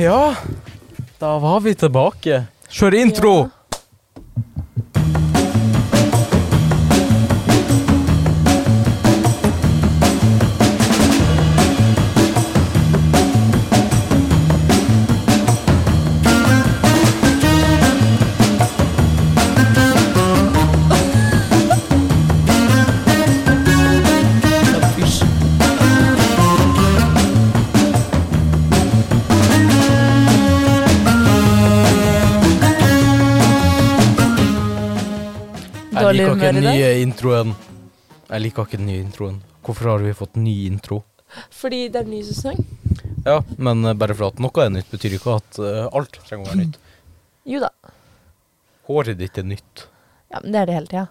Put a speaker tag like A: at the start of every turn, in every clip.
A: Ja, da var vi tilbake. Kjør intro! Jeg
B: Dårlig
A: liker ikke
B: humør
A: den
B: i dag.
A: nye introen. Jeg liker ikke den nye introen. Hvorfor har vi fått ny intro?
B: Fordi det er ny sesong.
A: Ja, men eh, bare for at noe er nytt, betyr ikke at eh, alt trenger å være nytt.
B: Jo da.
A: Håret ditt er nytt.
B: Ja, men det er det hele tida.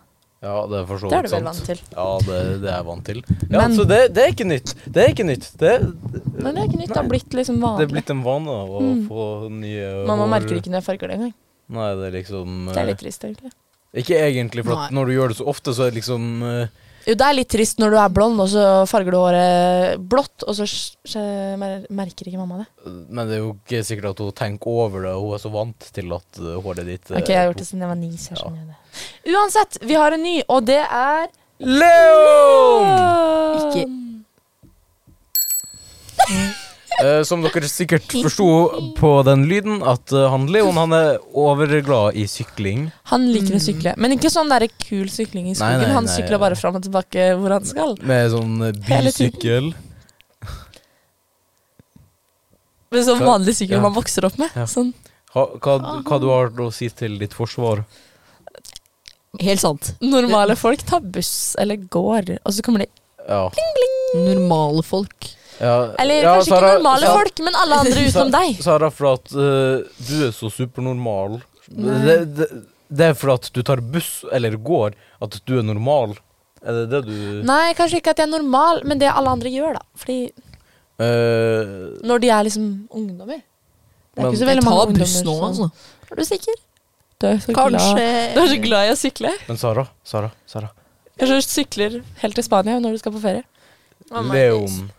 A: Ja, det er for så
B: Det er
A: vidt
B: du vel
A: sant.
B: vant til.
A: Ja, det, det er jeg vant til. Ja,
B: Men-
A: Så det, det er ikke nytt. Det er ikke nytt. Det,
B: Men det er ikke nytt. Det har blitt liksom
A: det
B: vanlig.
A: er blitt en vane å
B: Mm.
A: få nye
B: Mamma
A: hår.
B: merker ikke når jeg farger det engang.
A: Nei, det er liksom
B: Det er
A: eh,
B: litt trist, egentlig.
A: Ikke egentlig, for at
B: Nei.
A: når du gjør det så ofte, så er det liksom eh,
B: Jo, det er litt trist når du er blond, og så farger du håret blått, og så sj- sj- mer- merker ikke mamma det.
A: Men det er jo ikke sikkert at hun tenker over det, og hun er så vant til at eh, håret ditt eh,
B: Ok, jeg har gjort det siden jeg var ni, så jeg skjønner jo det. Uansett, vi har en ny, og det er
A: Leon!
B: Ikke
A: Eh, som dere sikkert forsto på den lyden, at eh, han Leon han er overglad i sykling.
B: Han liker å sykle, men ikke sånn derre kul sykling i skogen.
A: nei,
B: han
A: nei,
B: sykler
A: ja.
B: bare fram og tilbake hvor han skal.
A: Med sånn eh,
B: Hele tiden.
A: bysykkel.
B: Men sånn
A: Hva-
B: vanlig sykkel
A: ja.
B: man vokser opp med.
A: Ja.
B: Sånn
A: Ha, hva, hva du har å si til ditt forsvar?
C: Helt sant.
B: Normale folk tar buss eller går, og så kommer de
A: Ja.
C: Normale folk.
A: ja.
B: Eller
A: ja,
B: kanskje
A: Sara-
B: ikke normale
A: Sa-
B: folk, men alle andre utenom
A: Sa-
B: deg.
A: Sara, for at eh, du er så supernormal. Det, det, det er for at du tar buss eller går, at du er normal. Er det det du
B: Nei, kanskje ikke at jeg er normal, men det alle andre gjør, da. Fordi
A: Eh,
B: når de er liksom ungdommer Det er
A: Men-
B: ikke så
C: Jeg
B: veldig mange
C: tar
B: ungdommer
C: buss nå, altså.
B: som- Er du sikker? Du er så glad. Du er
C: Kanskje
B: så glad i å sykle.
A: Men Sara, Sara, Sara.
B: Jeg så sykler helt til Spania når du skal på ferie.
A: Leon.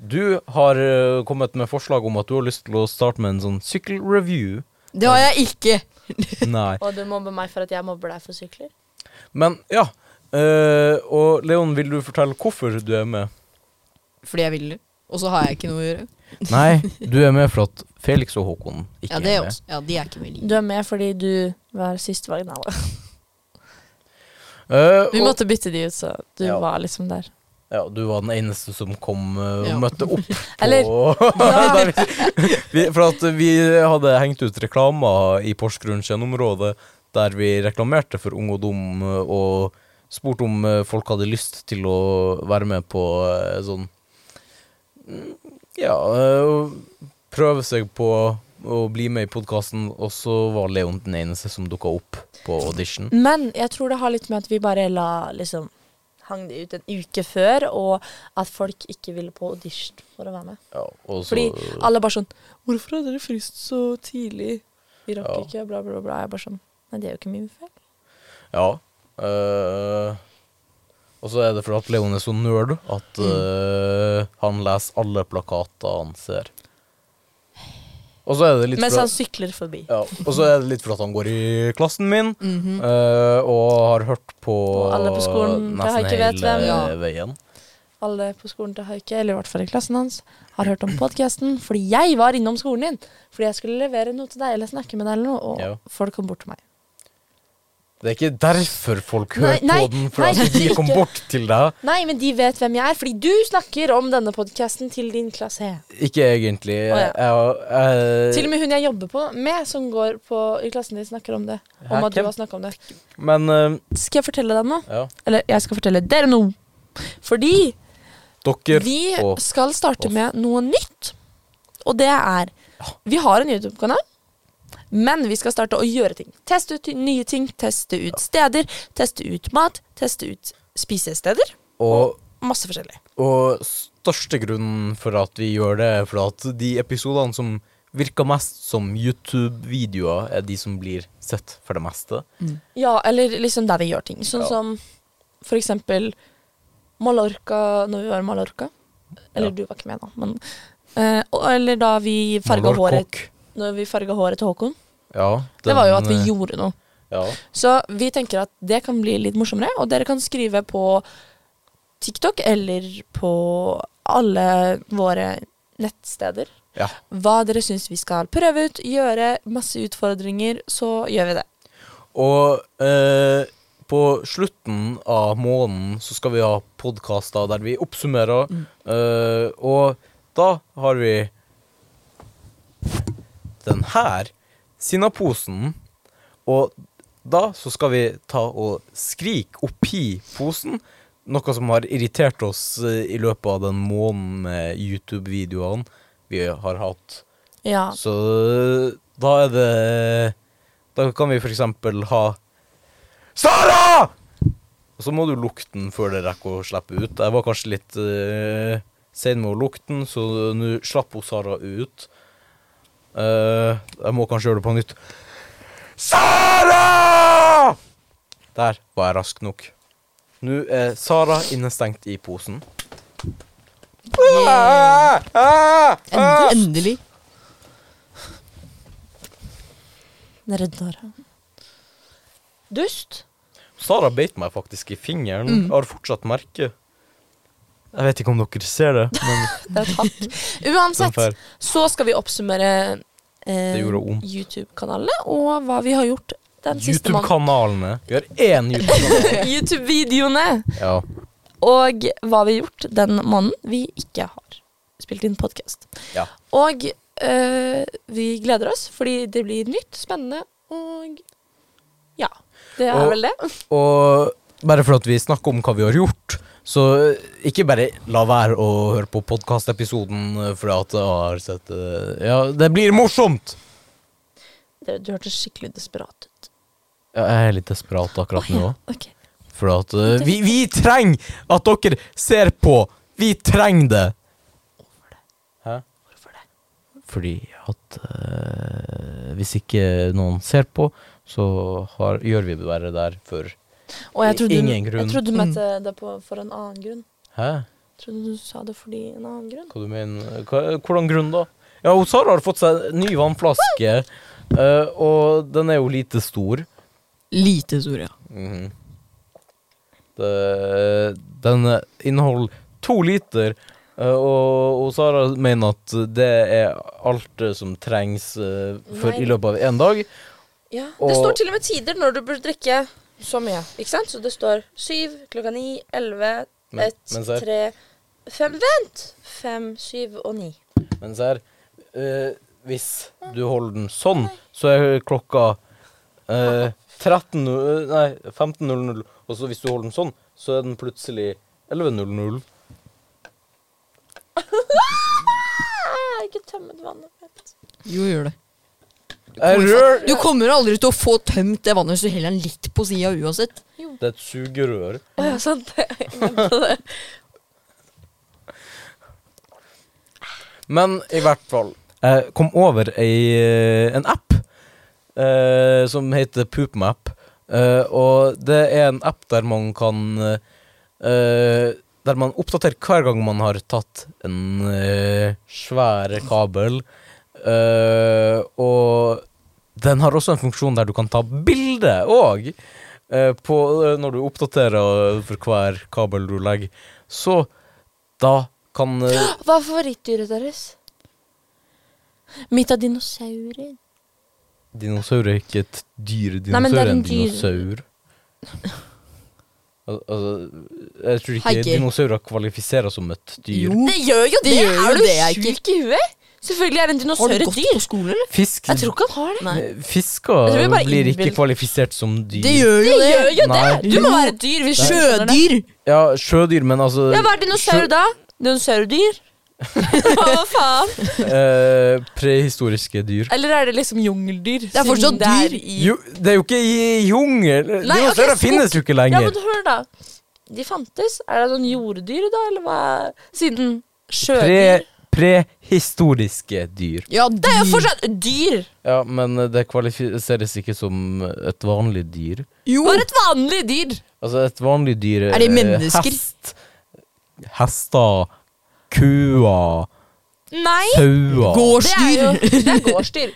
A: Du har eh, kommet med forslag om at du har lyst til å starte med en sånn sykkelreview.
C: Det har jeg ikke.
A: Nei.
B: Og du mobber meg for at jeg mobber deg for sykler?
A: Men ja. eh, og Leon, vil du fortelle hvorfor du er med?
C: Fordi jeg vil det. Og så har jeg ikke noe å gjøre.
A: Nei, du er med for at Felix og Håkon ikke
C: Ja, det
A: er
C: er
A: med.
C: også. Ja, de er ikke med i
B: Du er med fordi du var sistevalg.
A: Eh,
B: Vi
A: og-
B: måtte bytte de ut, så du
A: Ja.
B: var liksom der.
A: Ja, du var den eneste som kom eh, og
C: Ja.
A: møtte opp på
B: Eller-
A: Der vi- vi, For at vi hadde hengt ut reklamer i Porsgrunn kjerneområde der vi reklamerte for Ung og Dum eh, og spurte om eh, folk hadde lyst til å være med på eh, sånn mm, Ja, eh, prøve seg på å bli med i podkasten, og så var Leon den eneste som dukka opp på audition.
B: Men jeg tror det har litt med at vi bare la liksom Hang det ut en uke før, og at folk ikke ville på audition for å være med.
A: Ja, og så,
B: Fordi alle bare sånn 'Hvorfor hadde dere fryst så tidlig? Vi rakk
A: Ja.
B: ikke', bla, bla, bla. Jeg bare sånn Nei, det er jo ikke min feil.
A: Ja. øh, og så er det fordi at Leon er så nerd at
B: Mm.
A: øh, han leser alle plakater han ser. Og så er det litt
B: Mens
A: for at,
B: han sykler forbi.
A: ja, og så er det litt for at han går i klassen min
C: Mhm.
A: øh, og har hørt på
B: Og alle Mm. på skolen, det har
A: nesten
B: ikke vet
A: hele
B: hvem.
C: Ja.
A: veien.
B: Alle på skolen til Haike, eller i hvert fall i klassen hans, har hørt om podkasten fordi jeg var innom skolen din. Fordi jeg skulle levere noe til deg eller snakke med deg eller noe, og
A: Ja.
B: folk kom bort til meg.
A: Det er ikke derfor folk hører
B: Nei, nei,
A: på den, for
B: nei,
A: at de
B: ikke.
A: kom bort til deg.
B: Nei, men de vet hvem jeg er, fordi du snakker om denne podkasten til din klasse.
A: Ikke egentlig.
B: Å,
A: jeg, jeg,
B: Til og med hun jeg jobber på med, som går på, i klassen din, snakker om det. Om
A: Hæ,
B: at du
A: hvem?
B: har snakka om det.
A: Men øh,
B: Skal jeg fortelle deg noe?
A: ja.
B: Eller jeg skal fortelle dere noe. Fordi
A: Dere
B: vi
A: og
B: skal starte
A: oss.
B: med noe nytt. Og det er Vi har en YouTube-kanal, men vi skal starte å gjøre ting. Teste ut nye ting, teste ut steder, teste ut mat, teste ut spisesteder.
A: Og
B: Masse forskjellig.
A: Og største grunnen for at vi gjør det, er for at de episodene som virker mest som YouTube-videoer, er de som blir sett for det meste.
B: Ja, eller liksom der vi gjør ting. Sånn
A: Ja.
B: som for eksempel Mallorca, når vi var i Mallorca. Eller du var ikke med, da, men Eh, og- eller da vi farga
A: Moller
B: håret,
A: Kokk.
B: når vi farget håret til Håkon.
A: Ja,
B: det var jo at vi
A: den, eh,
B: gjorde noe.
A: ja.
B: Så vi tenker at det kan bli litt morsommere, og dere kan skrive på TikTok eller på alle våre nettsteder
A: Ja.
B: hva dere syns vi skal prøve ut, gjøre masse utfordringer, så gjør vi det.
A: Og eh, på slutten av måneden så skal vi ha podkaster der vi oppsummerer. eh, og da har vi den her sinnaposen. Og da så skal vi ta og skrike oppi posen. Noe som har irritert oss eh, i løpet av den måneden med YouTube-videoene vi har hatt.
B: Ja.
A: Så da er det Da kan vi for eksempel ha Sara! Og så må du lukte den før det rekker å slippe ut. Jeg var kanskje litt uh, sein med å lukte den, så nå slapp hun Sara ut. Eh, jeg må kanskje gjøre det på nytt. Sara! Der var jeg rask nok. Nå er Sara innestengt i posen. Ah, ah,
C: End- Endelig.
B: Dust.
A: Sara beit meg faktisk i fingeren.
B: Mm.
A: Jeg har fortsatt merke. Jeg vet ikke om dere ser det, men
B: Det er et hakk.
A: den
B: Uansett,
A: fer.
B: så skal vi oppsummere eh,
A: Det gjorde vondt.
B: YouTube-kanalene og hva vi har gjort den siste måneden.
A: YouTube-kanalene. Vi har én YouTube-kanal.
B: YouTube-videoene!
A: ja.
B: Og hva vi har gjort den måneden vi ikke har spilt inn podkast.
A: Ja.
B: Og eh, vi gleder oss, fordi det blir nytt, spennende og Ja. Det er
A: Og-
B: vel det.
A: Og bare for at vi snakker om hva vi har gjort, så ikke bare la være å høre på podkastepisoden fordi at jeg har sett eh, Ja, det blir morsomt!
B: Det- Du hørtes skikkelig desperat ut.
A: Ja, Jeg er litt desperat akkurat nå.
B: Ok.
A: For at eh, vi, vi trenger at dere ser på! Vi trenger det! Hæ?
B: Hvorfor det?
A: Fordi at eh, hvis ikke noen ser på, så har, gjør vi det bare der for
B: Og jeg trodde,
A: Ingen
B: du-
A: grunn.
B: Jeg trodde du mente det på, for en annen grunn.
A: Hæ?
B: Trodde du sa det fordi en annen grunn.
A: Hva du mener? Hva, hvordan grunn, da? Ja, hun Sara har fått seg ny vannflaske, eh, og den er jo lite stor.
C: Lite stor, ja.
A: Mhm. det, den inneholder to liter, eh, og, og Sara mener at det er alt eh, som trengs eh, for i
B: Nei.
A: løpet av én dag.
B: Ja,
A: Og-
B: Det står til og med tider når du bør drikke så mye. Ikke sant? Så det står syv, klokka ni, elleve,
A: Men-
B: ett,
A: men så-
B: tre Fem, vent! Fem, syv og ni.
A: Men se her, eh, hvis du holder den sånn, så er klokka eh, 13, eh, nei, 15.00, og så hvis du holder den sånn, så er den plutselig 11.00.
B: Ah, ikke tøm ut vannet. Vent.
C: Jo, gjør det.
A: Jeg rør!
C: Du kommer aldri til å få tømt det vannet hvis du heller den litt på sida uansett.
A: Det er et sugerør.
B: Å ja, sant det. Jeg glemte det.
A: Men i hvert fall, jeg kom over ei, en app eh, som heter PoopMap. Eh, og det er en app der man kan eh, Der man oppdaterer hver gang man har tatt en eh, svær kabel. Eh, og den har også en funksjon der du kan ta bilde òg. Eh, på- eh, når du oppdaterer for hver kabel du legger. Så da kan eh,
B: Hva er favorittdyret deres? Mitt av dinosaurer.
A: Dinosaur er ikke et dyr.
B: Nei, men
A: Dinosaur
B: det
A: er
B: er
A: en
B: en dyr-
A: dinosaur. Al- Altså, jeg tror ikke
C: Haiker.
A: dinosaurer kvalifiserer som et dyr.
C: Jo,
B: Det gjør jo
C: Det
B: det!
C: gjør jo
B: er du
C: det, jeg ikke.
B: sjuk i huet? Selvfølgelig er en
C: har
B: dinosaur
C: du
B: et
C: gått
B: dyr.
C: på skolen, eller?
A: Fisk,
B: Jeg tror ikke han har det.
C: Nei.
B: Jeg tror
A: Fisker
B: vi bare
A: blir ikke
B: innbill-
A: kvalifisert som dyr.
C: Det gjør
B: Det
C: jo det.
B: gjør jo
A: Nei.
B: det! Du må være et dyr hvis du skjønner det.
C: Sjødyr.
A: Ja, sjødyr, men altså
B: Ja, hva er dinosaur da? Dinosaurdyr? Hva faen?
A: sjø- eh, Prehistoriske dyr.
B: Eller er det liksom jungeldyr?
C: Det er fortsatt
B: siden det er
C: dyr.
B: i-
A: Jo, det er jo ikke i jungel!
B: Nei, altså, ok,
A: Dinosaurer
B: skog.
A: finnes jo ikke
B: Ja,
A: lenger.
B: men hør da. De fantes. Er det sånn jorddyr da, eller hva? Siden sjødyr.
A: Pre, prehistoriske dyr.
C: Ja,
B: Det er jo fortsatt dyr!
A: Ja, men det kvalifiseres ikke som et vanlig dyr.
C: Jo.
B: Bare et vanlig dyr.
A: Altså, et vanlig dyr
C: Er det
A: eh,
C: mennesker?
A: Hest, hester, kuer
B: Nei!
A: Sauer.
B: Det er jo
C: Gårdsdyr!
B: det er gårdsdyr.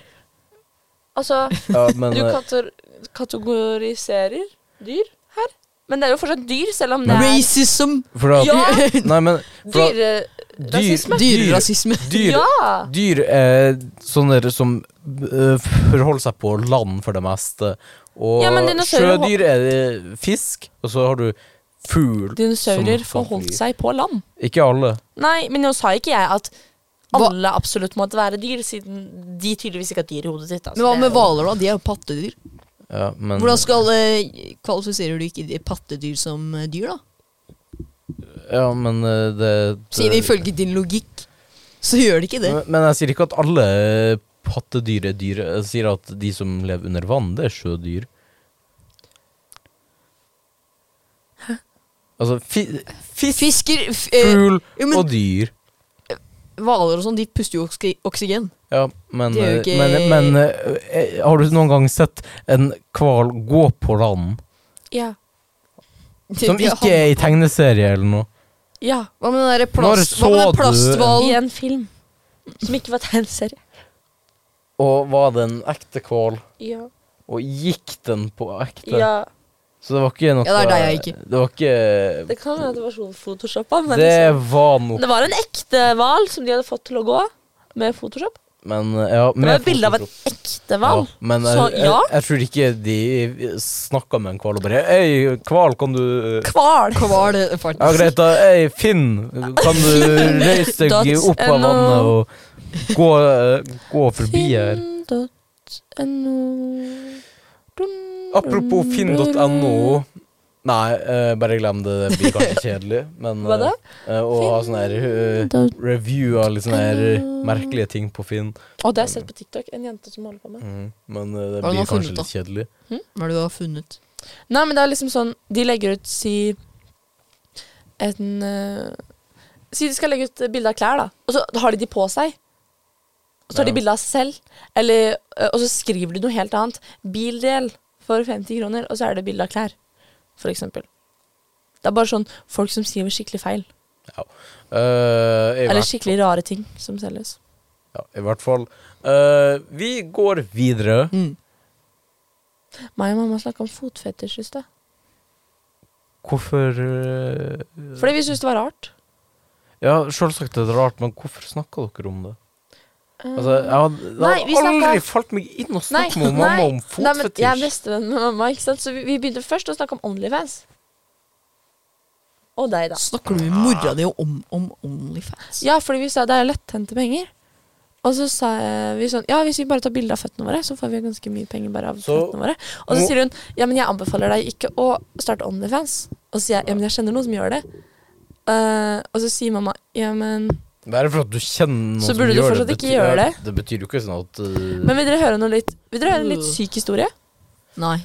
B: Altså,
A: Ja, men,
B: du
A: eh,
B: kator kategoriserer dyr her. Men det er jo fortsatt dyr, selv om det er
C: Racism!
A: eh, for at,
B: Ja!
A: Nei, men for at,
B: Dyrerasisme.
C: Dyrerasisme.
A: dyr
B: Ja!
A: Dyr er sånne der som eh, forholder seg på land for det meste. Og
B: Ja, men dinosaurer-
A: sjødyr er det fisk, og så har du fugl.
B: Dinosaurer
A: som kan
B: forholdt
A: fly.
B: seg på land.
A: Ikke alle.
B: Nei, men nå sa ikke jeg at
C: Hva-
B: alle absolutt måtte være dyr, siden de tydeligvis ikke har dyr i hodet sitt. altså.
C: Men hva
B: Det er
C: med
B: jo-
C: hvaler, da? De er jo pattedyr.
A: Ja, men
C: Hvordan skal eh, Kvalifiserer du ikke de pattedyr som eh, dyr, da?
A: Ja, men eh, det,
C: Siden
A: det
C: ifølge din logikk så gjør det ikke det.
A: men, men jeg sier ikke at alle pattedyr er dyr. Jeg sier at de som lever under vann, det er sjødyr. Altså fi, fisk,
C: Fisker, f eh,
A: fugl
C: jo, men-
A: og dyr.
C: hvaler og sånn, de puster jo oksyg- oksygen.
A: Ja, men,
C: Det er jo
A: eh,
C: ikke-
A: men, men eh, eh, har du noen gang sett en hval gå på land?
B: Ja.
C: De-
A: Som
C: de har-
A: ikke er i tegneserie eller noe?
B: ja.
C: Hva med den derre
A: Når
C: plast,
A: så
C: hva med den
A: du-
B: I
C: plasthvalen?
B: en film som ikke var tegneserie.
A: Og var det en ekte hval?
B: Ja.
A: Og gikk den på ekte?
B: ja.
A: Så det var ikke noe
C: Ja, det er deg jeg
A: Det var ikke
B: Det kan være at det var sånn photoshoppa, men
A: Det
B: liksom.
A: var noe
B: det var en ekte hval som de hadde fått til å gå med Photoshop.
A: Men eh, ja
B: Det var et bilde av en ekte hval.
A: men eh, jeg,
B: Så,
A: jeg,
B: ja.
A: jeg tror ikke de snakka med en hval og bare Ei, hval, kan du
B: Hval!
C: Hval, eh, faktisk.
A: Ja, greit, da. Ei, Finn, kan du reise deg
B: Dot
A: opp av
B: no.
A: vannet og gå, eh, gå forbi her?
B: Finn.no Dun,
A: Apropos
B: dun,
A: finn.no
B: dun.
A: Nei, eh, bare glem det. Det blir kanskje kjedelig. Men
B: Hva da?
A: eh, eh, å ha sånne her eh,
B: Dot-
A: review av litt sånne her merkelige ting på Finn.
B: Å, det har jeg sett på TikTok. En jente som holder på med
A: Mm, men eh, det
C: Hva har
A: blir
C: man
A: kanskje
C: funnet,
A: litt kjedelig.
C: Hva er det du har funnet?
B: Nei, men det er liksom sånn De legger ut, si En eh, Si de skal legge ut eh, bilde av klær, da. Og så har de de på seg. Og så tar
A: Ja.
B: de bilde av seg selv. Eller, eh, og så skriver de noe helt annet. Bildel for 50 kroner, og så er det bilde av klær. For eksempel. Det er bare sånn folk som skriver skikkelig feil.
A: Eh, i,
B: Eller
A: hvert,
B: skikkelig rare ting som selges.
A: ja, I hvert fall. Eh, vi går videre.
C: Mm.
B: Meg og mamma snakka om fotfetisj i stad.
A: Hvorfor eh,
B: Fordi vi syntes det var rart.
A: Ja, sjølsagt er det rart, men hvorfor snakka dere om det? Altså, jeg hadde, det
B: Mm. Nei, vi
A: hadde
B: snakket-
A: aldri falt meg inn å snakke med mamma om
B: Nei, men jeg er
A: fotfetisj.
B: bestevenn med mamma, ikke sant? så vi, vi begynte først å snakke om Onlyfans. Og deg, da.
C: Snakker du med mora di om, om Onlyfans?
B: Ja, fordi vi sa det er lettjente penger. Og så sa jeg- vi sånn Ja, hvis vi bare tar bilde av føttene våre, så får vi ganske mye penger bare av
A: Så-
B: føttene våre. Og så
A: Nå-
B: sier hun ja, men jeg anbefaler deg ikke å starte Onlyfans. Og så sier jeg ja, men jeg kjenner noen som gjør det. Eh, og så sier mamma ja, men
A: Det er for at du kjenner noen
B: Så
A: som
B: burde du
A: gjør det,
B: fortsatt ikke
A: betyr-
B: gjøre
A: ja,
B: det.
A: Det betyr jo ikke sånn at eh,
B: Men vil dere høre noe litt Vil dere høre en litt
C: Øh.
B: syk historie?
C: Nei.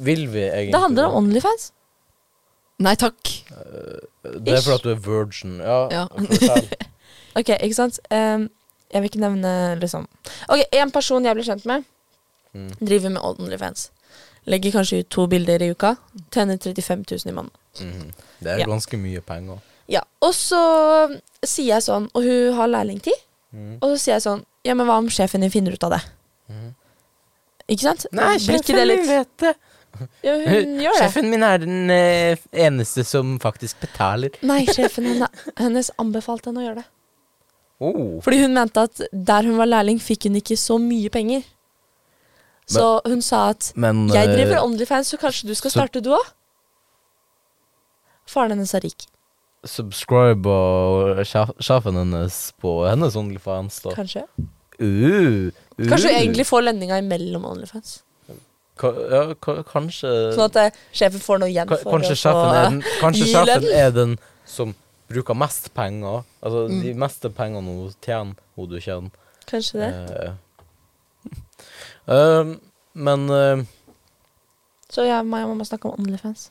A: Vil vi egentlig
B: Det handler om Onlyfans.
C: Nei takk.
A: Det er for at du er virgin. Ja,
C: Ja.
A: fortell.
B: Ok, ikke sant? Ehm, jeg vil ikke nevne liksom Ok, en person jeg ble kjent med,
A: Mm.
B: driver med Onlyfans. Legger kanskje ut to bilder i uka. Tjener 35 000 i måneden.
A: Mhm. Det er
B: Ja.
A: ganske mye penger.
B: Ja, og så um, sier jeg sånn, og hun har lærlingtid,
A: Mhm.
B: og så sier jeg sånn Ja, men hva om sjefen din finner ut av det?
A: Mhm.
B: Ikke sant? Blir ikke det litt-
A: vet det.
B: Ja, hun gjør det.
A: min er den eh, eneste som faktisk betaler.
B: Nei, sjefen henne, hennes anbefalte henne å gjøre det. Fordi hun mente at der hun var lærling, fikk hun ikke så mye penger. Så hun sa at
A: Men
B: Jeg
A: eh,
B: driver Onlyfans, så kanskje du skal
A: så-
B: starte du òg? Faren hennes er rik.
A: subscribe og sjef- sjefen hennes på hennes Onlyfans, da.
B: Kanskje
A: Uh, uh.
B: Kanskje hun egentlig får lønninga imellom Onlyfans.
A: Ka ja, ka kanskje
B: Sånn at eh, sjefen får noe igjen.
A: Ka-
B: for
A: Kanskje
B: å få-
A: sjefen, er den, kanskje
B: gi
A: sjefen
B: lønn.
A: er den som bruker mest penger. Altså
B: Mm.
A: de meste pengene hun tjener, hun du tjener.
B: Kanskje det.
A: Eh, eh, men eh,
B: Så jeg meg og mamma snakka om Onlyfans.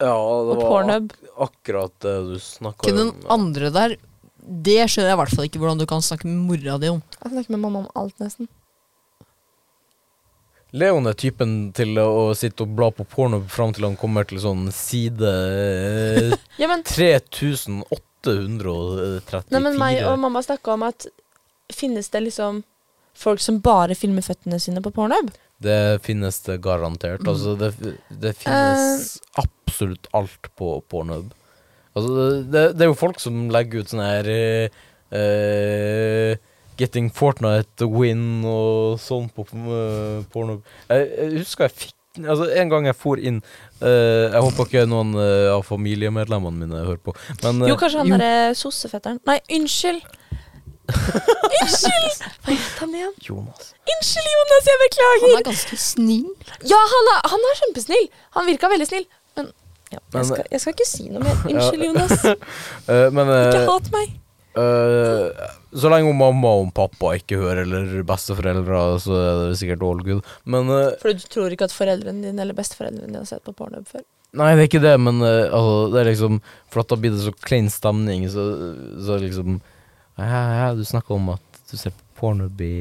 A: Ja, det var
B: Og
A: ak
B: Pornhub.
A: akkurat det du snakka
C: Ikke den
A: om.
C: andre der. Det skjønner jeg i hvert fall ikke hvordan du kan snakke med mora di om.
B: Jeg snakker med mamma om alt, nesten.
A: Leon er typen til å sitte og bla på porno fram til han kommer til sånn side eh,
B: Ja, men
A: 3800. 834
B: Nei, men meg og mamma snakka om at finnes det liksom folk som bare filmer føttene sine på pornhub?
A: Det finnes det garantert.
B: Mm.
A: Altså, det, det finnes
B: Eh.
A: absolutt alt på pornhub. Altså, det, det, det er jo folk som legger ut sånne her eh, eh, Getting Fortnite to win og sånn på eh, pornhub. Jeg, jeg husker jeg fikk Altså, en gang jeg for inn eh, Jeg håper ikke noen eh, av familiemedlemmene mine hører på, men eh,
B: Jo, kanskje han derre sossefetteren. Nei, unnskyld! unnskyld! Hva het han igjen?
A: Jonas.
B: Unnskyld, Jonas, jeg
C: Han
B: beklager!
C: er ganske snill.
B: Ja, han er, han er kjempesnill! Han virka veldig snill. Men ja,
A: Men-
B: jeg, skal, jeg skal ikke si noe mer. Unnskyld, Jonas.
A: Eh, men
B: Ikke
A: eh,
B: hat meg.
A: Eh, så lenge mamma og pappa ikke hører, eller besteforeldre, så er det sikkert all good. Men eh,
B: For du tror ikke at foreldrene dine eller besteforeldrene dine har sett på pornhub før?
A: Nei, det er ikke det, men eh, altså, det er liksom For at da blir det så klein stemning, så, så liksom ja, ja, ja, Du snakker om at du ser på pornhub i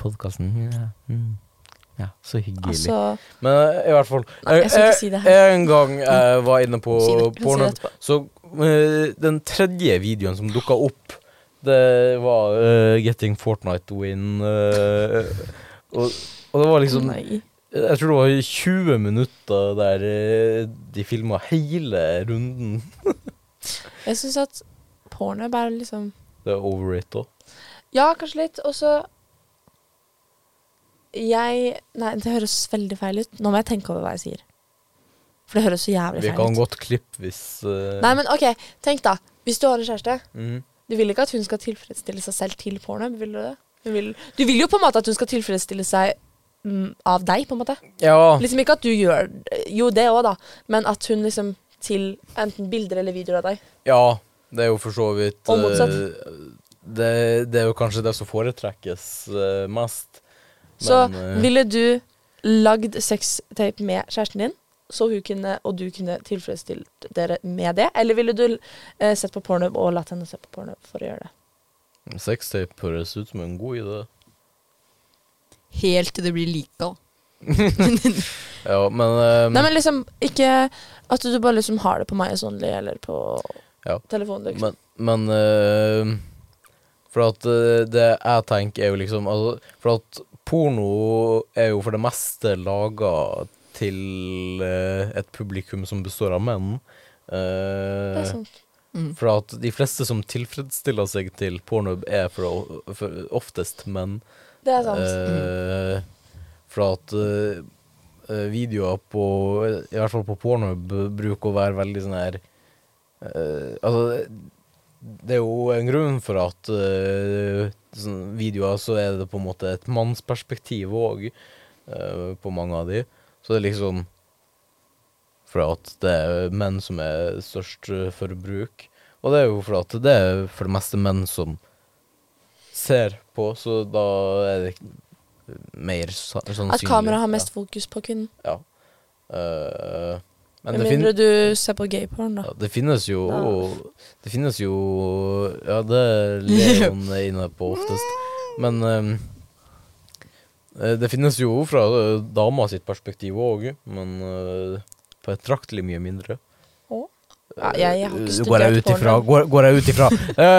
A: podkasten. Ja, mm. ja, så hyggelig.
B: Altså,
A: men eh, i hvert fall
B: Nei, jeg skal ikke si det her.
A: eh, En gang jeg var inne på
C: Si
B: jeg
C: det.
B: kan si det
A: pornhub,
B: etterpå.
A: så eh, den tredje videoen som dukka opp, det var eh, 'Getting Fortnite to Win'. eh, og, og det var liksom
B: Nei.
A: Jeg tror det var 20 minutter der eh, de filma hele runden.
B: Jeg syns at pornhub er liksom
A: Det er over it òg.
B: Ja, kanskje litt. Og så Jeg Nei, det høres veldig feil ut. Nå må jeg tenke over hva jeg sier. For det høres så jævlig
A: Vi
B: feil
A: kan
B: ut.
A: godt klippe hvis eh,
B: Nei, men OK, tenk da. Hvis du har en kjæreste,
A: mhm.
B: du vil ikke at hun skal tilfredsstille seg selv til pornhub, vil du det? Du vil, du vil jo på en måte at hun skal tilfredsstille seg mm, av deg, på en måte.
A: Ja.
B: Liksom ikke at du gjør Jo, det òg, da. Men at hun liksom til enten bilder eller videoer av deg.
A: Ja, det er jo for så vidt
B: Og motsatt.
A: eh, Det, det er jo kanskje det som foretrekkes eh, mest.
B: Så
A: Men, eh,
B: ville du lagd sextape med kjæresten din, så hun kunne, og du kunne tilfredsstilt dere med det? Eller ville du eh, sett på porno og latt henne se på porno for å gjøre det?
A: Sextape høres ut som en god idé.
C: Helt til det blir lika.
A: Ja, men, eh,
B: Nei, men liksom ikke at du bare liksom har det på meg Only eller på
A: Ja.
B: telefonen. Liksom.
A: men, men eh, For at eh, det jeg tenker, er jo liksom altså, For at porno er jo for det meste laga til eh, et publikum som består av menn. Eh,
B: det er sant.
C: Mm.
A: For at de fleste som tilfredsstiller seg til pornhub, er for, for oftest menn.
B: Det er sant.
A: Eh, for at eh, eh, videoer på I hvert fall på pornhub eh, bruker å være veldig sånn her eh, Altså, det er jo en grunn for at eh, sånn videoer så er det på en måte et mannsperspektiv òg eh, på mange av de. Så det er liksom For at det er menn som er størst eh, forbruk. Og det er jo for at det er for det meste menn som ser på, så da er det mer sa- sannsynlig.
B: At kameraet har mest fokus på kvinnen.
A: Ja. ja. Eh, men
B: Med
A: det, fin
B: mindre du ser på gayporn, da.
A: ja, det finnes jo
B: Ja.
A: Det finnes jo Ja, det er Leon er inne på oftest. Men eh, eh, det finnes jo fra eh, dama sitt perspektiv òg, men eh, betraktelig mye mindre. Eh,
B: Å? Ja, jeg, jeg har ikke studert
A: går jeg ut ifra?
B: porno.
A: Går, går jeg ut ifra? Eh,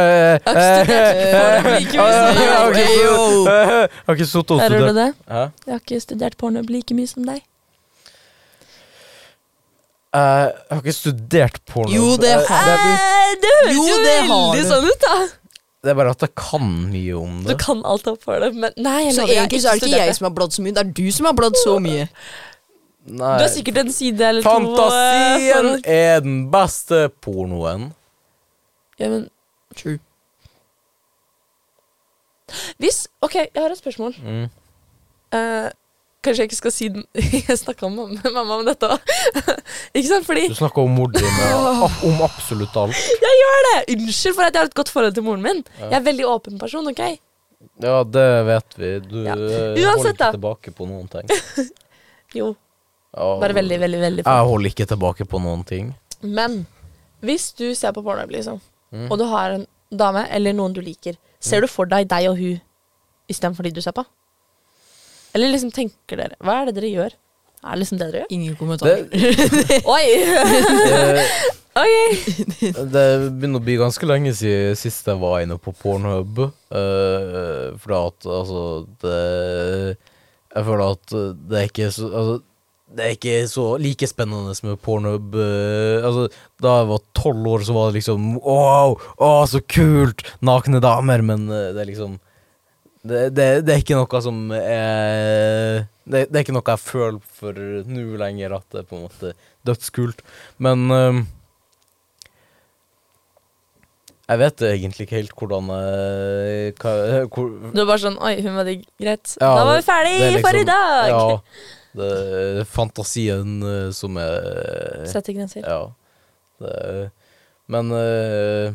A: jeg eh,
B: har ikke studert porno, like mye som
A: Jeg har
C: deg.
A: ikke sittet og
B: Hører du
A: studert.
B: det?
A: Hæ?
B: Jeg har ikke studert porno like mye som deg.
A: Eh, Jeg har ikke studert porno.
C: Jo, det
A: Eh,
C: har
A: det, er-
B: Eh, det høres
C: Jo,
B: jo,
C: det har
B: veldig
C: du.
B: sånn ut, da.
A: det er bare at jeg kan mye om
B: Du
A: det.
B: kan alt opp for det, men nei, jeg
C: Så
B: lover, jeg har
C: egentlig så er det ikke
B: studert
C: jeg som har bladd så mye, det er du som har bladd så mye.
A: Nei.
B: Du har sikkert en side eller eh,
A: Fantasien
B: to. eh, for-
A: er den beste pornoen.
B: Ja, men
C: True.
B: hvis Ok, jeg har et spørsmål.
A: Mm.
B: Eh, kanskje jeg ikke skal si den Jeg snakka med mamma om dette òg. ikke sant? Fordi
A: Du snakker om mor di med om absolutt alt.
B: Jeg gjør det! Unnskyld for at jeg har et godt forhold til moren min. Jeg er en veldig åpen person, OK?
A: Ja, det vet vi. Du
B: Ja.
A: eh, holder
B: Uansett,
A: ikke
B: da.
A: tilbake på noen ting.
B: Jo,
A: Ja.
B: bare veldig, veldig, veldig
A: Jeg holder ikke tilbake på noen ting.
B: Men hvis du ser på porno, liksom,
A: Mm.
B: og du har en dame eller noen du liker, ser du for deg deg og hun istedenfor de du ser på? Eller liksom tenker dere Hva er det dere gjør? Er det liksom det dere gjør?
C: Ingen kommentar.
A: Det,
B: Oi!
A: eh,
B: Ok.
A: Det begynner å bli ganske lenge siden sist jeg var inne på Pornhub. Uh, fordi at altså det, Jeg føler at det er ikke så altså, Det er ikke så like spennende med Pornhub. eh, altså, da jeg var tolv år, så var det liksom Wow, å, så kult! Nakne damer. Men eh, det er liksom det, det, det er ikke noe som er det, det er ikke noe jeg føler for nå lenger, at det er på en måte dødskult. Men eh, jeg vet egentlig ikke helt hvordan eh, hva, eh, hvor,
B: Du var bare sånn Oi, hun var digg. Greit.
A: Ja,
B: da var vi ferdig
A: det er liksom-
B: for i dag!
A: Ja. Det er fantasien eh, som er
B: Sette grenser.
A: Ja. Det er, men eh,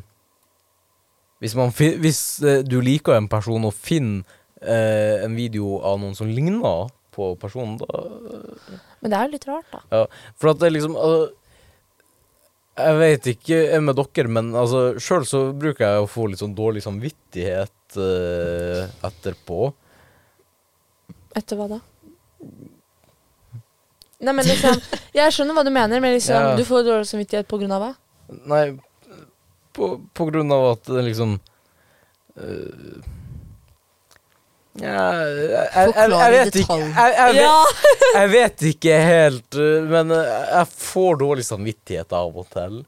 A: hvis, man fin, hvis eh, du liker en person og finner eh, en video av noen som ligner på personen, da
B: Men det er jo litt rart, da.
A: ja, for at det er liksom altså, Jeg vet ikke med dere, men altså, sjøl så bruker jeg å få litt sånn dårlig samvittighet eh, etterpå.
B: Etter hva da? Nei, men liksom Jeg skjønner hva du mener, men liksom
A: Ja.
B: du får dårlig samvittighet på grunn av hva?
A: Nei, på, på grunn av at det liksom eh, ja, jeg, jeg, jeg, jeg
C: Forklar i
A: vet ikke
C: detalj.
A: jeg, jeg, vet,
B: Ja!
A: jeg vet ikke helt, eh, men eh, jeg får dårlig samvittighet av og til.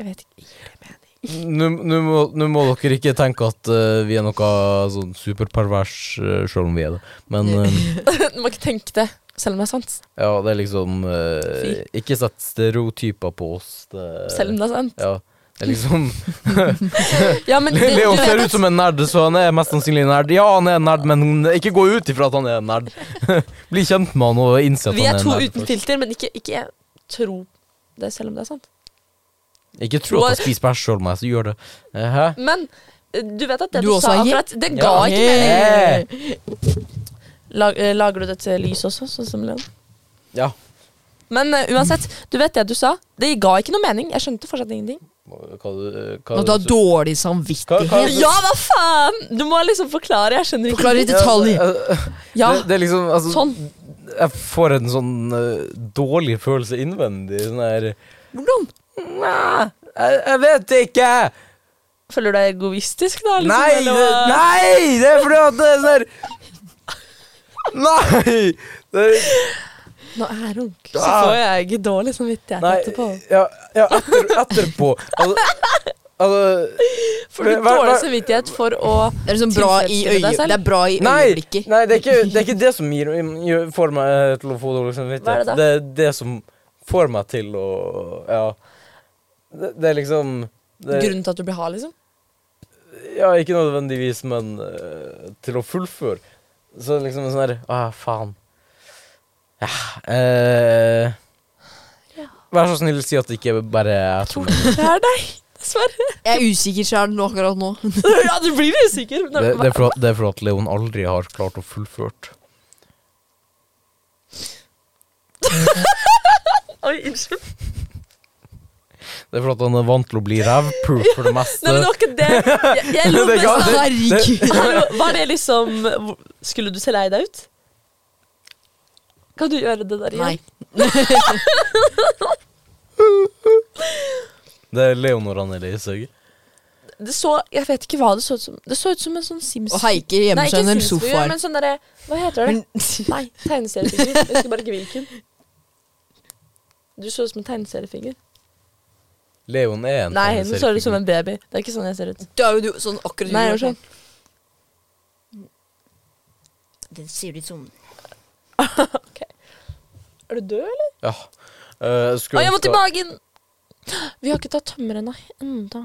B: Jeg vet ikke. Gir det mening?
A: Nå nå må, nå må dere ikke tenke at eh, vi er noe sånn superpervers, uh, sjøl om vi er det. Men eh,
B: Du må ikke tenke det, selv om det er sant.
A: ja, det er liksom eh, Ikke sett stereotyper på oss. Det,
B: Selv om det er sant.
A: Ja, det er liksom
B: Ja, men det,
A: Leo
B: du
A: ser
B: vet
A: ut som en nerd, så han er mest sannsynlig en nerd. Ja, han er en nerd, men ikke gå ut ifra at han er en nerd. Bli kjent med han og innse
B: at
A: at
B: vi
A: han
B: er
A: er en
B: to
A: nerd.
B: uten
A: først.
B: filter, men ikke, ikke jeg tro det, selv om det er sant.
A: Ikke tro at jeg spiser bæsj sjøl om jeg så gjør det. Eh, Hæ?
B: Men eh, du vet at det
C: Du
B: du,
C: også
B: sa
C: har gitt-
B: akkurat, det ga
A: Ja.
B: ikke mening.
A: Eh,
B: Lag, eh, lager du det til lys også, sånn som Leon?
A: Ja.
B: Men eh, uansett, du vet det du sa. Det ga ikke noe mening. Jeg skjønte fortsatt ingenting.
A: Hva, du- hva,
C: At du har dårlig
A: Hva-
C: samvittighet.
A: hva-
B: Ja, hva faen?! Du må liksom forklare. Jeg skjønner ikke.
C: Forklar i detalj.
A: Ja, eh,
B: Ja,
A: Det, det er liksom altså,
B: sånn.
A: Jeg får en sånn eh, dårlig følelse innvendig. Sånn her
C: Hvordan?
A: Nei, jeg, jeg vet ikke!
B: Føler du deg egoistisk, da? Liksom,
A: Nei!
B: eller
A: Det,
B: hva?
A: nei! Det er fordi at det er sånn her Nei! Det,
B: Nå er hun ung, så
A: Ah.
B: får jeg ikke dårlig samvittighet
A: nei
B: etterpå.
A: ja, ja, etter, etterpå. Altså, altså
B: Får du
A: Hva- hva-
B: dårlig samvittighet for å
C: Det er liksom bra i
B: Tilfredsstille deg
C: øye...
B: selv?
C: Det er bra i
A: Nei,
C: øyeblikket.
A: nei det, er ikke, det er ikke det som gir, gjør- får meg eh, til å få dårlig
B: Hva er
A: samvittighet.
B: det da?
A: Det er det som får meg til å Ja. Det, det er liksom det,
B: Grunnen til at du blir hard, liksom?
A: Ja, ikke nødvendigvis, men eh, til å fullføre. Så liksom en sånn her Å, faen. Ja eh,
B: Ja.
A: Vær så snill, si at det ikke bare er jeg som
B: Det er deg, dessverre.
C: Jeg er usikker sjøl akkurat nå.
B: Ja, du blir usikker.
A: det, det, er for, at- det er for at Leon aldri har klart å fullført.
B: Oi, unnskyld.
A: Det er for at han er vant til å bli rævpult for det meste.
B: Nei, men det var ikke det. Jeg, jeg lo
A: Ah, Det ga-
B: mest av
C: Herregud.
B: Hallo, Var det liksom hvor- Skulle du se lei deg ut? Kan du gjøre det der igjen?
C: Nei.
A: Det er Leon når han er lei seg.
B: Det så, jeg vet ikke hva det så ut som. Det så ut som en sånn Sims...
C: Og heiker
B: Nei,
C: gjemmer
B: ikke
C: seg under
B: Sims-figur,
C: sofaer.
B: men sånn derre Hva heter det?
C: Men-
B: Nei, tegneseriefigur. Jeg husker bare ikke hvilken. Du så ut som en tegneseriefigur.
A: Leon er en sånn
B: Nei, nå så du ut som
A: tegneseriefigur.
B: en baby. Det er ikke sånn jeg ser ut.
C: Det er jo du, sånn akkurat
B: Nei, jeg gjør sånn.
C: Den ser ut som
B: Er du død, eller?
A: Ja. Eh,
B: Å,
A: skulle
B: jeg må
A: ønske-
B: til magen! Vi har ikke tatt tømmerrenna ennå.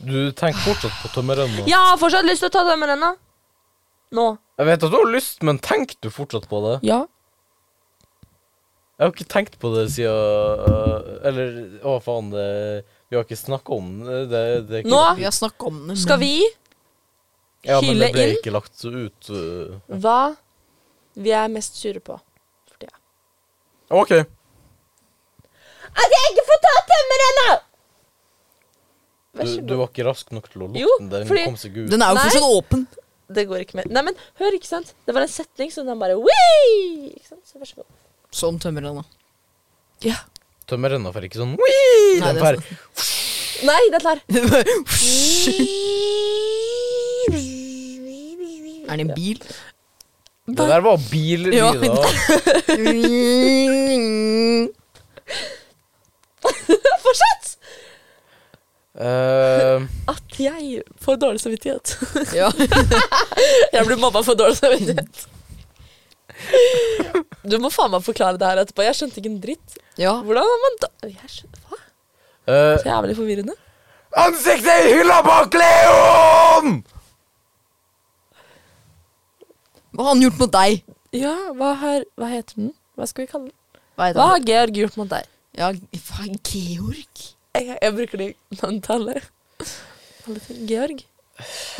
A: Du tenker fortsatt på tømmerrenna.
B: Jeg har fortsatt lyst til å ta tømmerrenna. Nå.
A: Jeg vet at du har lyst, men tenker du fortsatt på det?
B: Ja.
A: Jeg har ikke tenkt på det siden øh, Eller å faen, det Vi har ikke snakka om det. det, det er ikke,
B: Nå
C: Vi har snakka om den.
B: skal vi
A: ja, men det
B: hyle
A: ble
B: inn.
A: ikke lagt ut. øh.
B: hva vi er mest sure på for tida.
A: OK.
B: At jeg ikke får ta tømmerrenna!
A: Du,
B: Vær så
A: du
B: god.
A: var ikke rask nok til å lukte
B: Jo,
A: den. Den
B: fordi-
A: kom seg ut.
C: Den er jo
B: Nei.
C: fortsatt åpen.
B: Det går ikke mer. Nei, men hør, ikke sant? Det var en setning som den bare Wii! Ikke sant? Så vær så god.
C: Som tømmerrenna.
B: Ja.
A: Tømmerrenna får ikke sånn «Wii!»
C: Nei,
A: Den
C: det er
B: sånn-
A: får
B: Nei, det er klar.
C: Er det en bil?
A: Det der var billyder.
C: Ja.
A: da.
B: Fortsett!
A: Eh,
B: At jeg får dårlig samvittighet.
C: ja.
B: Jeg blir mamma for dårlig samvittighet. Du må faen meg forklare det her etterpå. Jeg skjønte ikke en dritt.
C: ja.
B: Hvordan har man da Jeg skjønner hva?
A: eh,
B: Så jævlig forvirrende.
A: ansiktet i hylla bak Leon!
C: Hva har han gjort mot deg?
B: Ja, hva, har, hva heter den? Hva skal vi kalle den?
C: Hva heter
B: Hva
C: han?
B: har Georg gjort mot deg?
C: Ja, faen, Georg?
B: Jeg, jeg bruker det navnet til alle. Alle ting. Georg?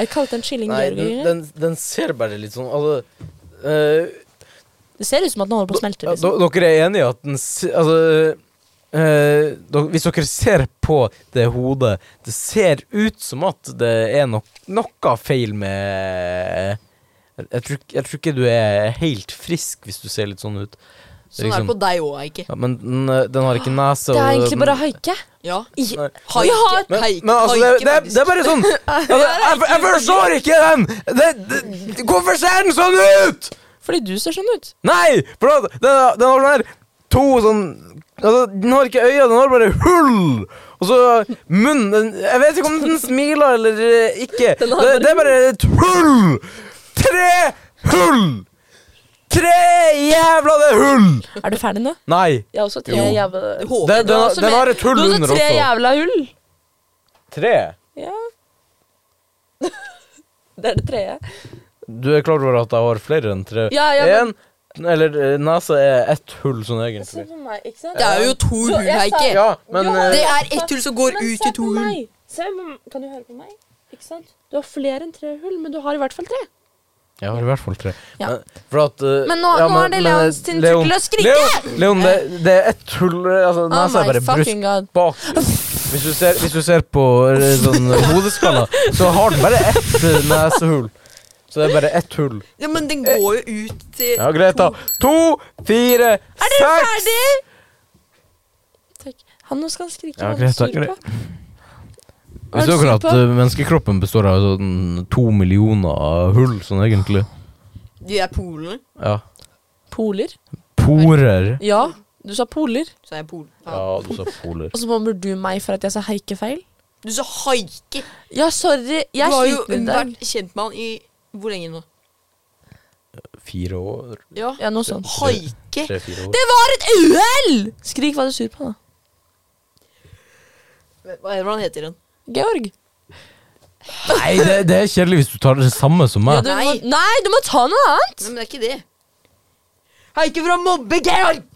B: Jeg kalte den Chilling
A: Nei,
B: Georg.
A: den,
B: ikke?
A: den, den ser bare litt sånn altså, eh,
B: det ser ut som at den holder på å smelte.
A: Ja,
B: Liksom.
A: d- Dere er enige i at den se- Altså eh, dere- Hvis dere ser på det hodet Det ser ut som at det er nok, noe feil med jeg, jeg, tror, ikke- jeg tror ikke du er helt frisk hvis du ser litt sånn ut.
C: Sånn er det på deg òg, Eike.
A: ja, men den, eh, den har ikke nese.
B: Det er
A: og-
B: egentlig bare haike.
C: Ja.
A: Nei.
C: Haike.
A: Men,
C: Haike.
A: men altså, det,
C: Haike,
A: det,
C: faktisk.
A: det er bare sånn altså, jeg, jeg forstår ikke den! Det, det, hvorfor ser den sånn ut?!
B: Fordi du ser sånn ut.
A: Nei! For da, den, den har sånn her to sånn altså, Den har ikke øyne, den har bare hull! Og så munnen den, Jeg vet ikke om den smiler eller eh, ikke.
B: Den
A: Det,
B: har bare
A: det er bare et hull! Tre hull! Tre jævla det hull!
B: Er du ferdig nå?
A: Nei.
B: Jeg har også tre
A: Jo.
B: jævla
C: Håper
A: Det-
B: Du
A: den,
B: også
A: den
B: mer-
A: har et hull
B: Du har
A: under
B: også tre
A: også.
B: jævla hull.
A: Tre?
B: Ja. det er det tredje.
A: Du er klar over at jeg har flere enn tre?
B: Ja, ja, men-
A: En, eller eh, nesa er ett hull sånn
B: Se
A: egentlig.
B: på meg, ikke sant?
C: Det er jo to
B: Så
C: hull,
B: jeg sa-
C: Eike.
A: Ja, men
B: Ja.
A: eh,
C: Det er ett hull som går
B: Men
C: ut
B: se
C: i to
B: på
C: hull.
B: meg. Se på meg. Kan du høre på meg? Ikke sant? Du har flere enn tre hull, men du har i hvert fall tre.
A: Jeg har i hvert fall tre.
B: Ja.
A: Men, for at, eh,
B: Men nå- nå er det
A: men, eh,
B: Leons sin tur til å skrike! Oh
A: Leon, Leon det, det er ett hull eh, altså, Nesa er bare brusk
B: god.
A: bak. Hvis du ser, hvis du ser på eh, sånn eh, hodeskalla, så har den bare ett eh, nesehull. Så det er bare ett hull.
C: Ja, men den går jo ut til
A: Ja, greit, da. To, fire, seks
B: Takk. Han nå skal han skrike.
A: Ja,
B: hva han
A: greit,
B: sur
A: takk,
B: på.
A: Hvis
B: Er du
A: dere at
B: sur på?
A: eh, menneskekroppen består av sånn to millioner hull, sånn egentlig
C: De er polene.
A: Ja.
B: Poler?
A: Porer.
B: Ja, du sa poler.
C: Så er jeg pol.
A: Ja,
C: Ja.
A: du sa poler.
B: Og så mobber du meg for at jeg sa haike feil?
C: Du sa haike.
B: Ja, sorry.
C: Du
B: Jeg
C: har jo
B: sliter i dag.
C: vært kjent med han i hvor lenge nå?
A: Fire år?
C: Ja.
B: Ja, noe sånt.
C: Haike.
A: Tre-fire år.
B: Det var et uhell! Skrik hva du er sur på, da.
C: Hva er det han heter igjen?
B: Georg.
A: Nei, det, det er kjedelig hvis du tar det samme som meg.
B: Ja, du må,
C: Nei.
B: nei, du må ta noe annet!
C: Nei, men det er ikke det. Haike fra mobbe Georg!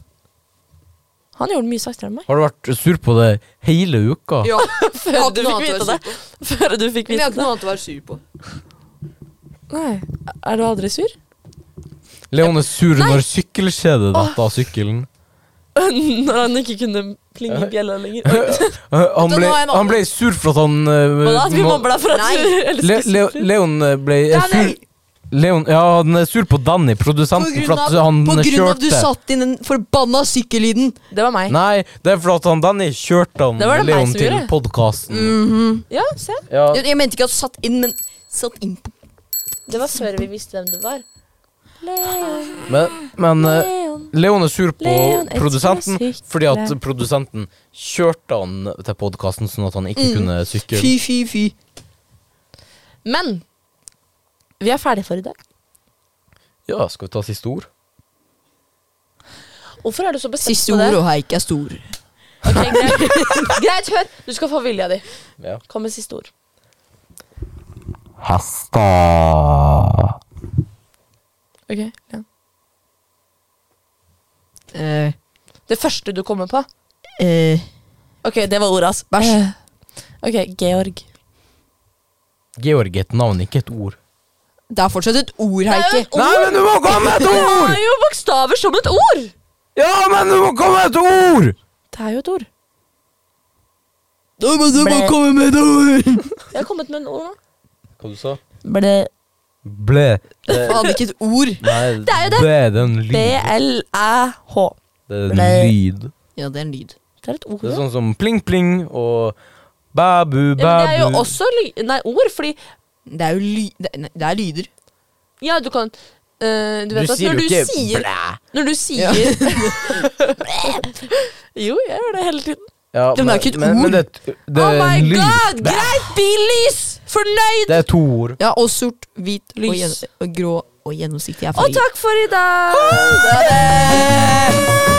B: Han gjorde det mye saktere enn meg.
A: Har du vært sur på det hele uka?
C: Ja. Jeg har
B: du
C: ikke
B: fikk
C: noe annet
B: vite
C: å være
B: det.
C: sur på.
B: Før du fikk
C: Men jeg
B: vite
C: har ikke
B: det.
C: noe annet å være sur på.
B: Nei. Er du aldri sur?
A: Leon er sur når sykkelkjedet detter av sykkelen.
B: Når han ikke kunne plinge i bjella lenger. Oi.
A: Han
C: nå
A: ble,
C: har jeg en annen.
A: han ble sur for at han eh,
B: Hva da? At vi
A: må-
B: mobber deg for at
C: Nei.
B: du
A: Le,
B: elsker
A: Le,
B: sykler?
A: Leon eh, ble eh, sur
C: Danny!
A: Leon, ja, han er sur på Danny, produsenten, for at han eh,
C: på grunn av du
A: kjørte.
C: satt inn den forbanna sykkellyden.
B: Det var meg.
A: Nei, det er for at han Danny kjørte han
B: Det var det meg
A: Leon
B: som
A: til
B: gjorde.
A: podkasten.
C: Mm. Mhm.
B: Ja, se.
A: Ja,
C: Jeg, jeg mente ikke at du satt inn, men satt inn på
B: Det var før vi visste hvem du var. Leon,
A: men, men eh,
B: Leon.
A: Leon er sur på
B: Leon er
A: produsenten
B: sur på sykler.
A: fordi at produsenten kjørte han til podkasten sånn at han ikke
C: Mm.
A: kunne sykle.
C: Fy, fy, fy.
B: Men vi er ferdige for i dag.
A: Ja, skal vi ta siste ord?
B: Hvorfor er du så bestemt
C: Siste
B: på det?
C: ord og haik er stor.
B: Ok, greit. greit, hør. Du skal få vilja di.
A: Ja.
B: Kom med siste ord.
A: Hester.
B: Ok, Leon.
C: Eh,
B: Det første du kommer på.
C: eh,
B: Ok, det var ordet hans.
C: Bæsj.
B: Eh. Ok, Georg.
A: Georg er et navn, ikke et ord.
C: Det er fortsatt et ord,
B: Det er jo
C: Heike.
B: et ord.
A: men du må komme med et
B: Det er jo bokstaver som et ord!
A: Ja, men du må komme med et ord!
B: Det er jo et ord.
C: Da må du
B: Blæ.
C: komme med et ord!
B: Jeg har kommet med en ord nå.
A: Hva du sa
B: Ble
A: Ble. Eh.
C: Faen, ikke et ord.
A: Nei,
B: Det er jo det.
A: Ble, det er en lyd.
B: B-L-æ-H.
A: Det er
B: Nei.
A: en lyd.
C: Ja, det er en lyd.
B: Det er et ord.
A: Det er
B: ja.
A: sånn som pling-pling og bæbu, bæbu.
B: Ja, men det er jo også ly nei, ord, fordi
C: Det er jo ly... Det er, nei, det er lyder.
B: Ja, du kan eh, Du vet at når du sier
A: blæ.
B: Når du sier Jo, jeg gjør det hele tiden.
A: Ja,
C: Det er jo ikke et
A: men,
C: ord.
A: Men det, det,
B: oh
A: er
B: my
A: en lyd.
B: god!
A: Bæ.
B: Greit, billys! Fornøyd!
A: Det er to ord.
C: Ja, og sort, hvit, og,
B: Lys.
C: gjennom- og grå og gjennomsiktig er
B: Og
C: farger.
B: takk for i dag! Ha det!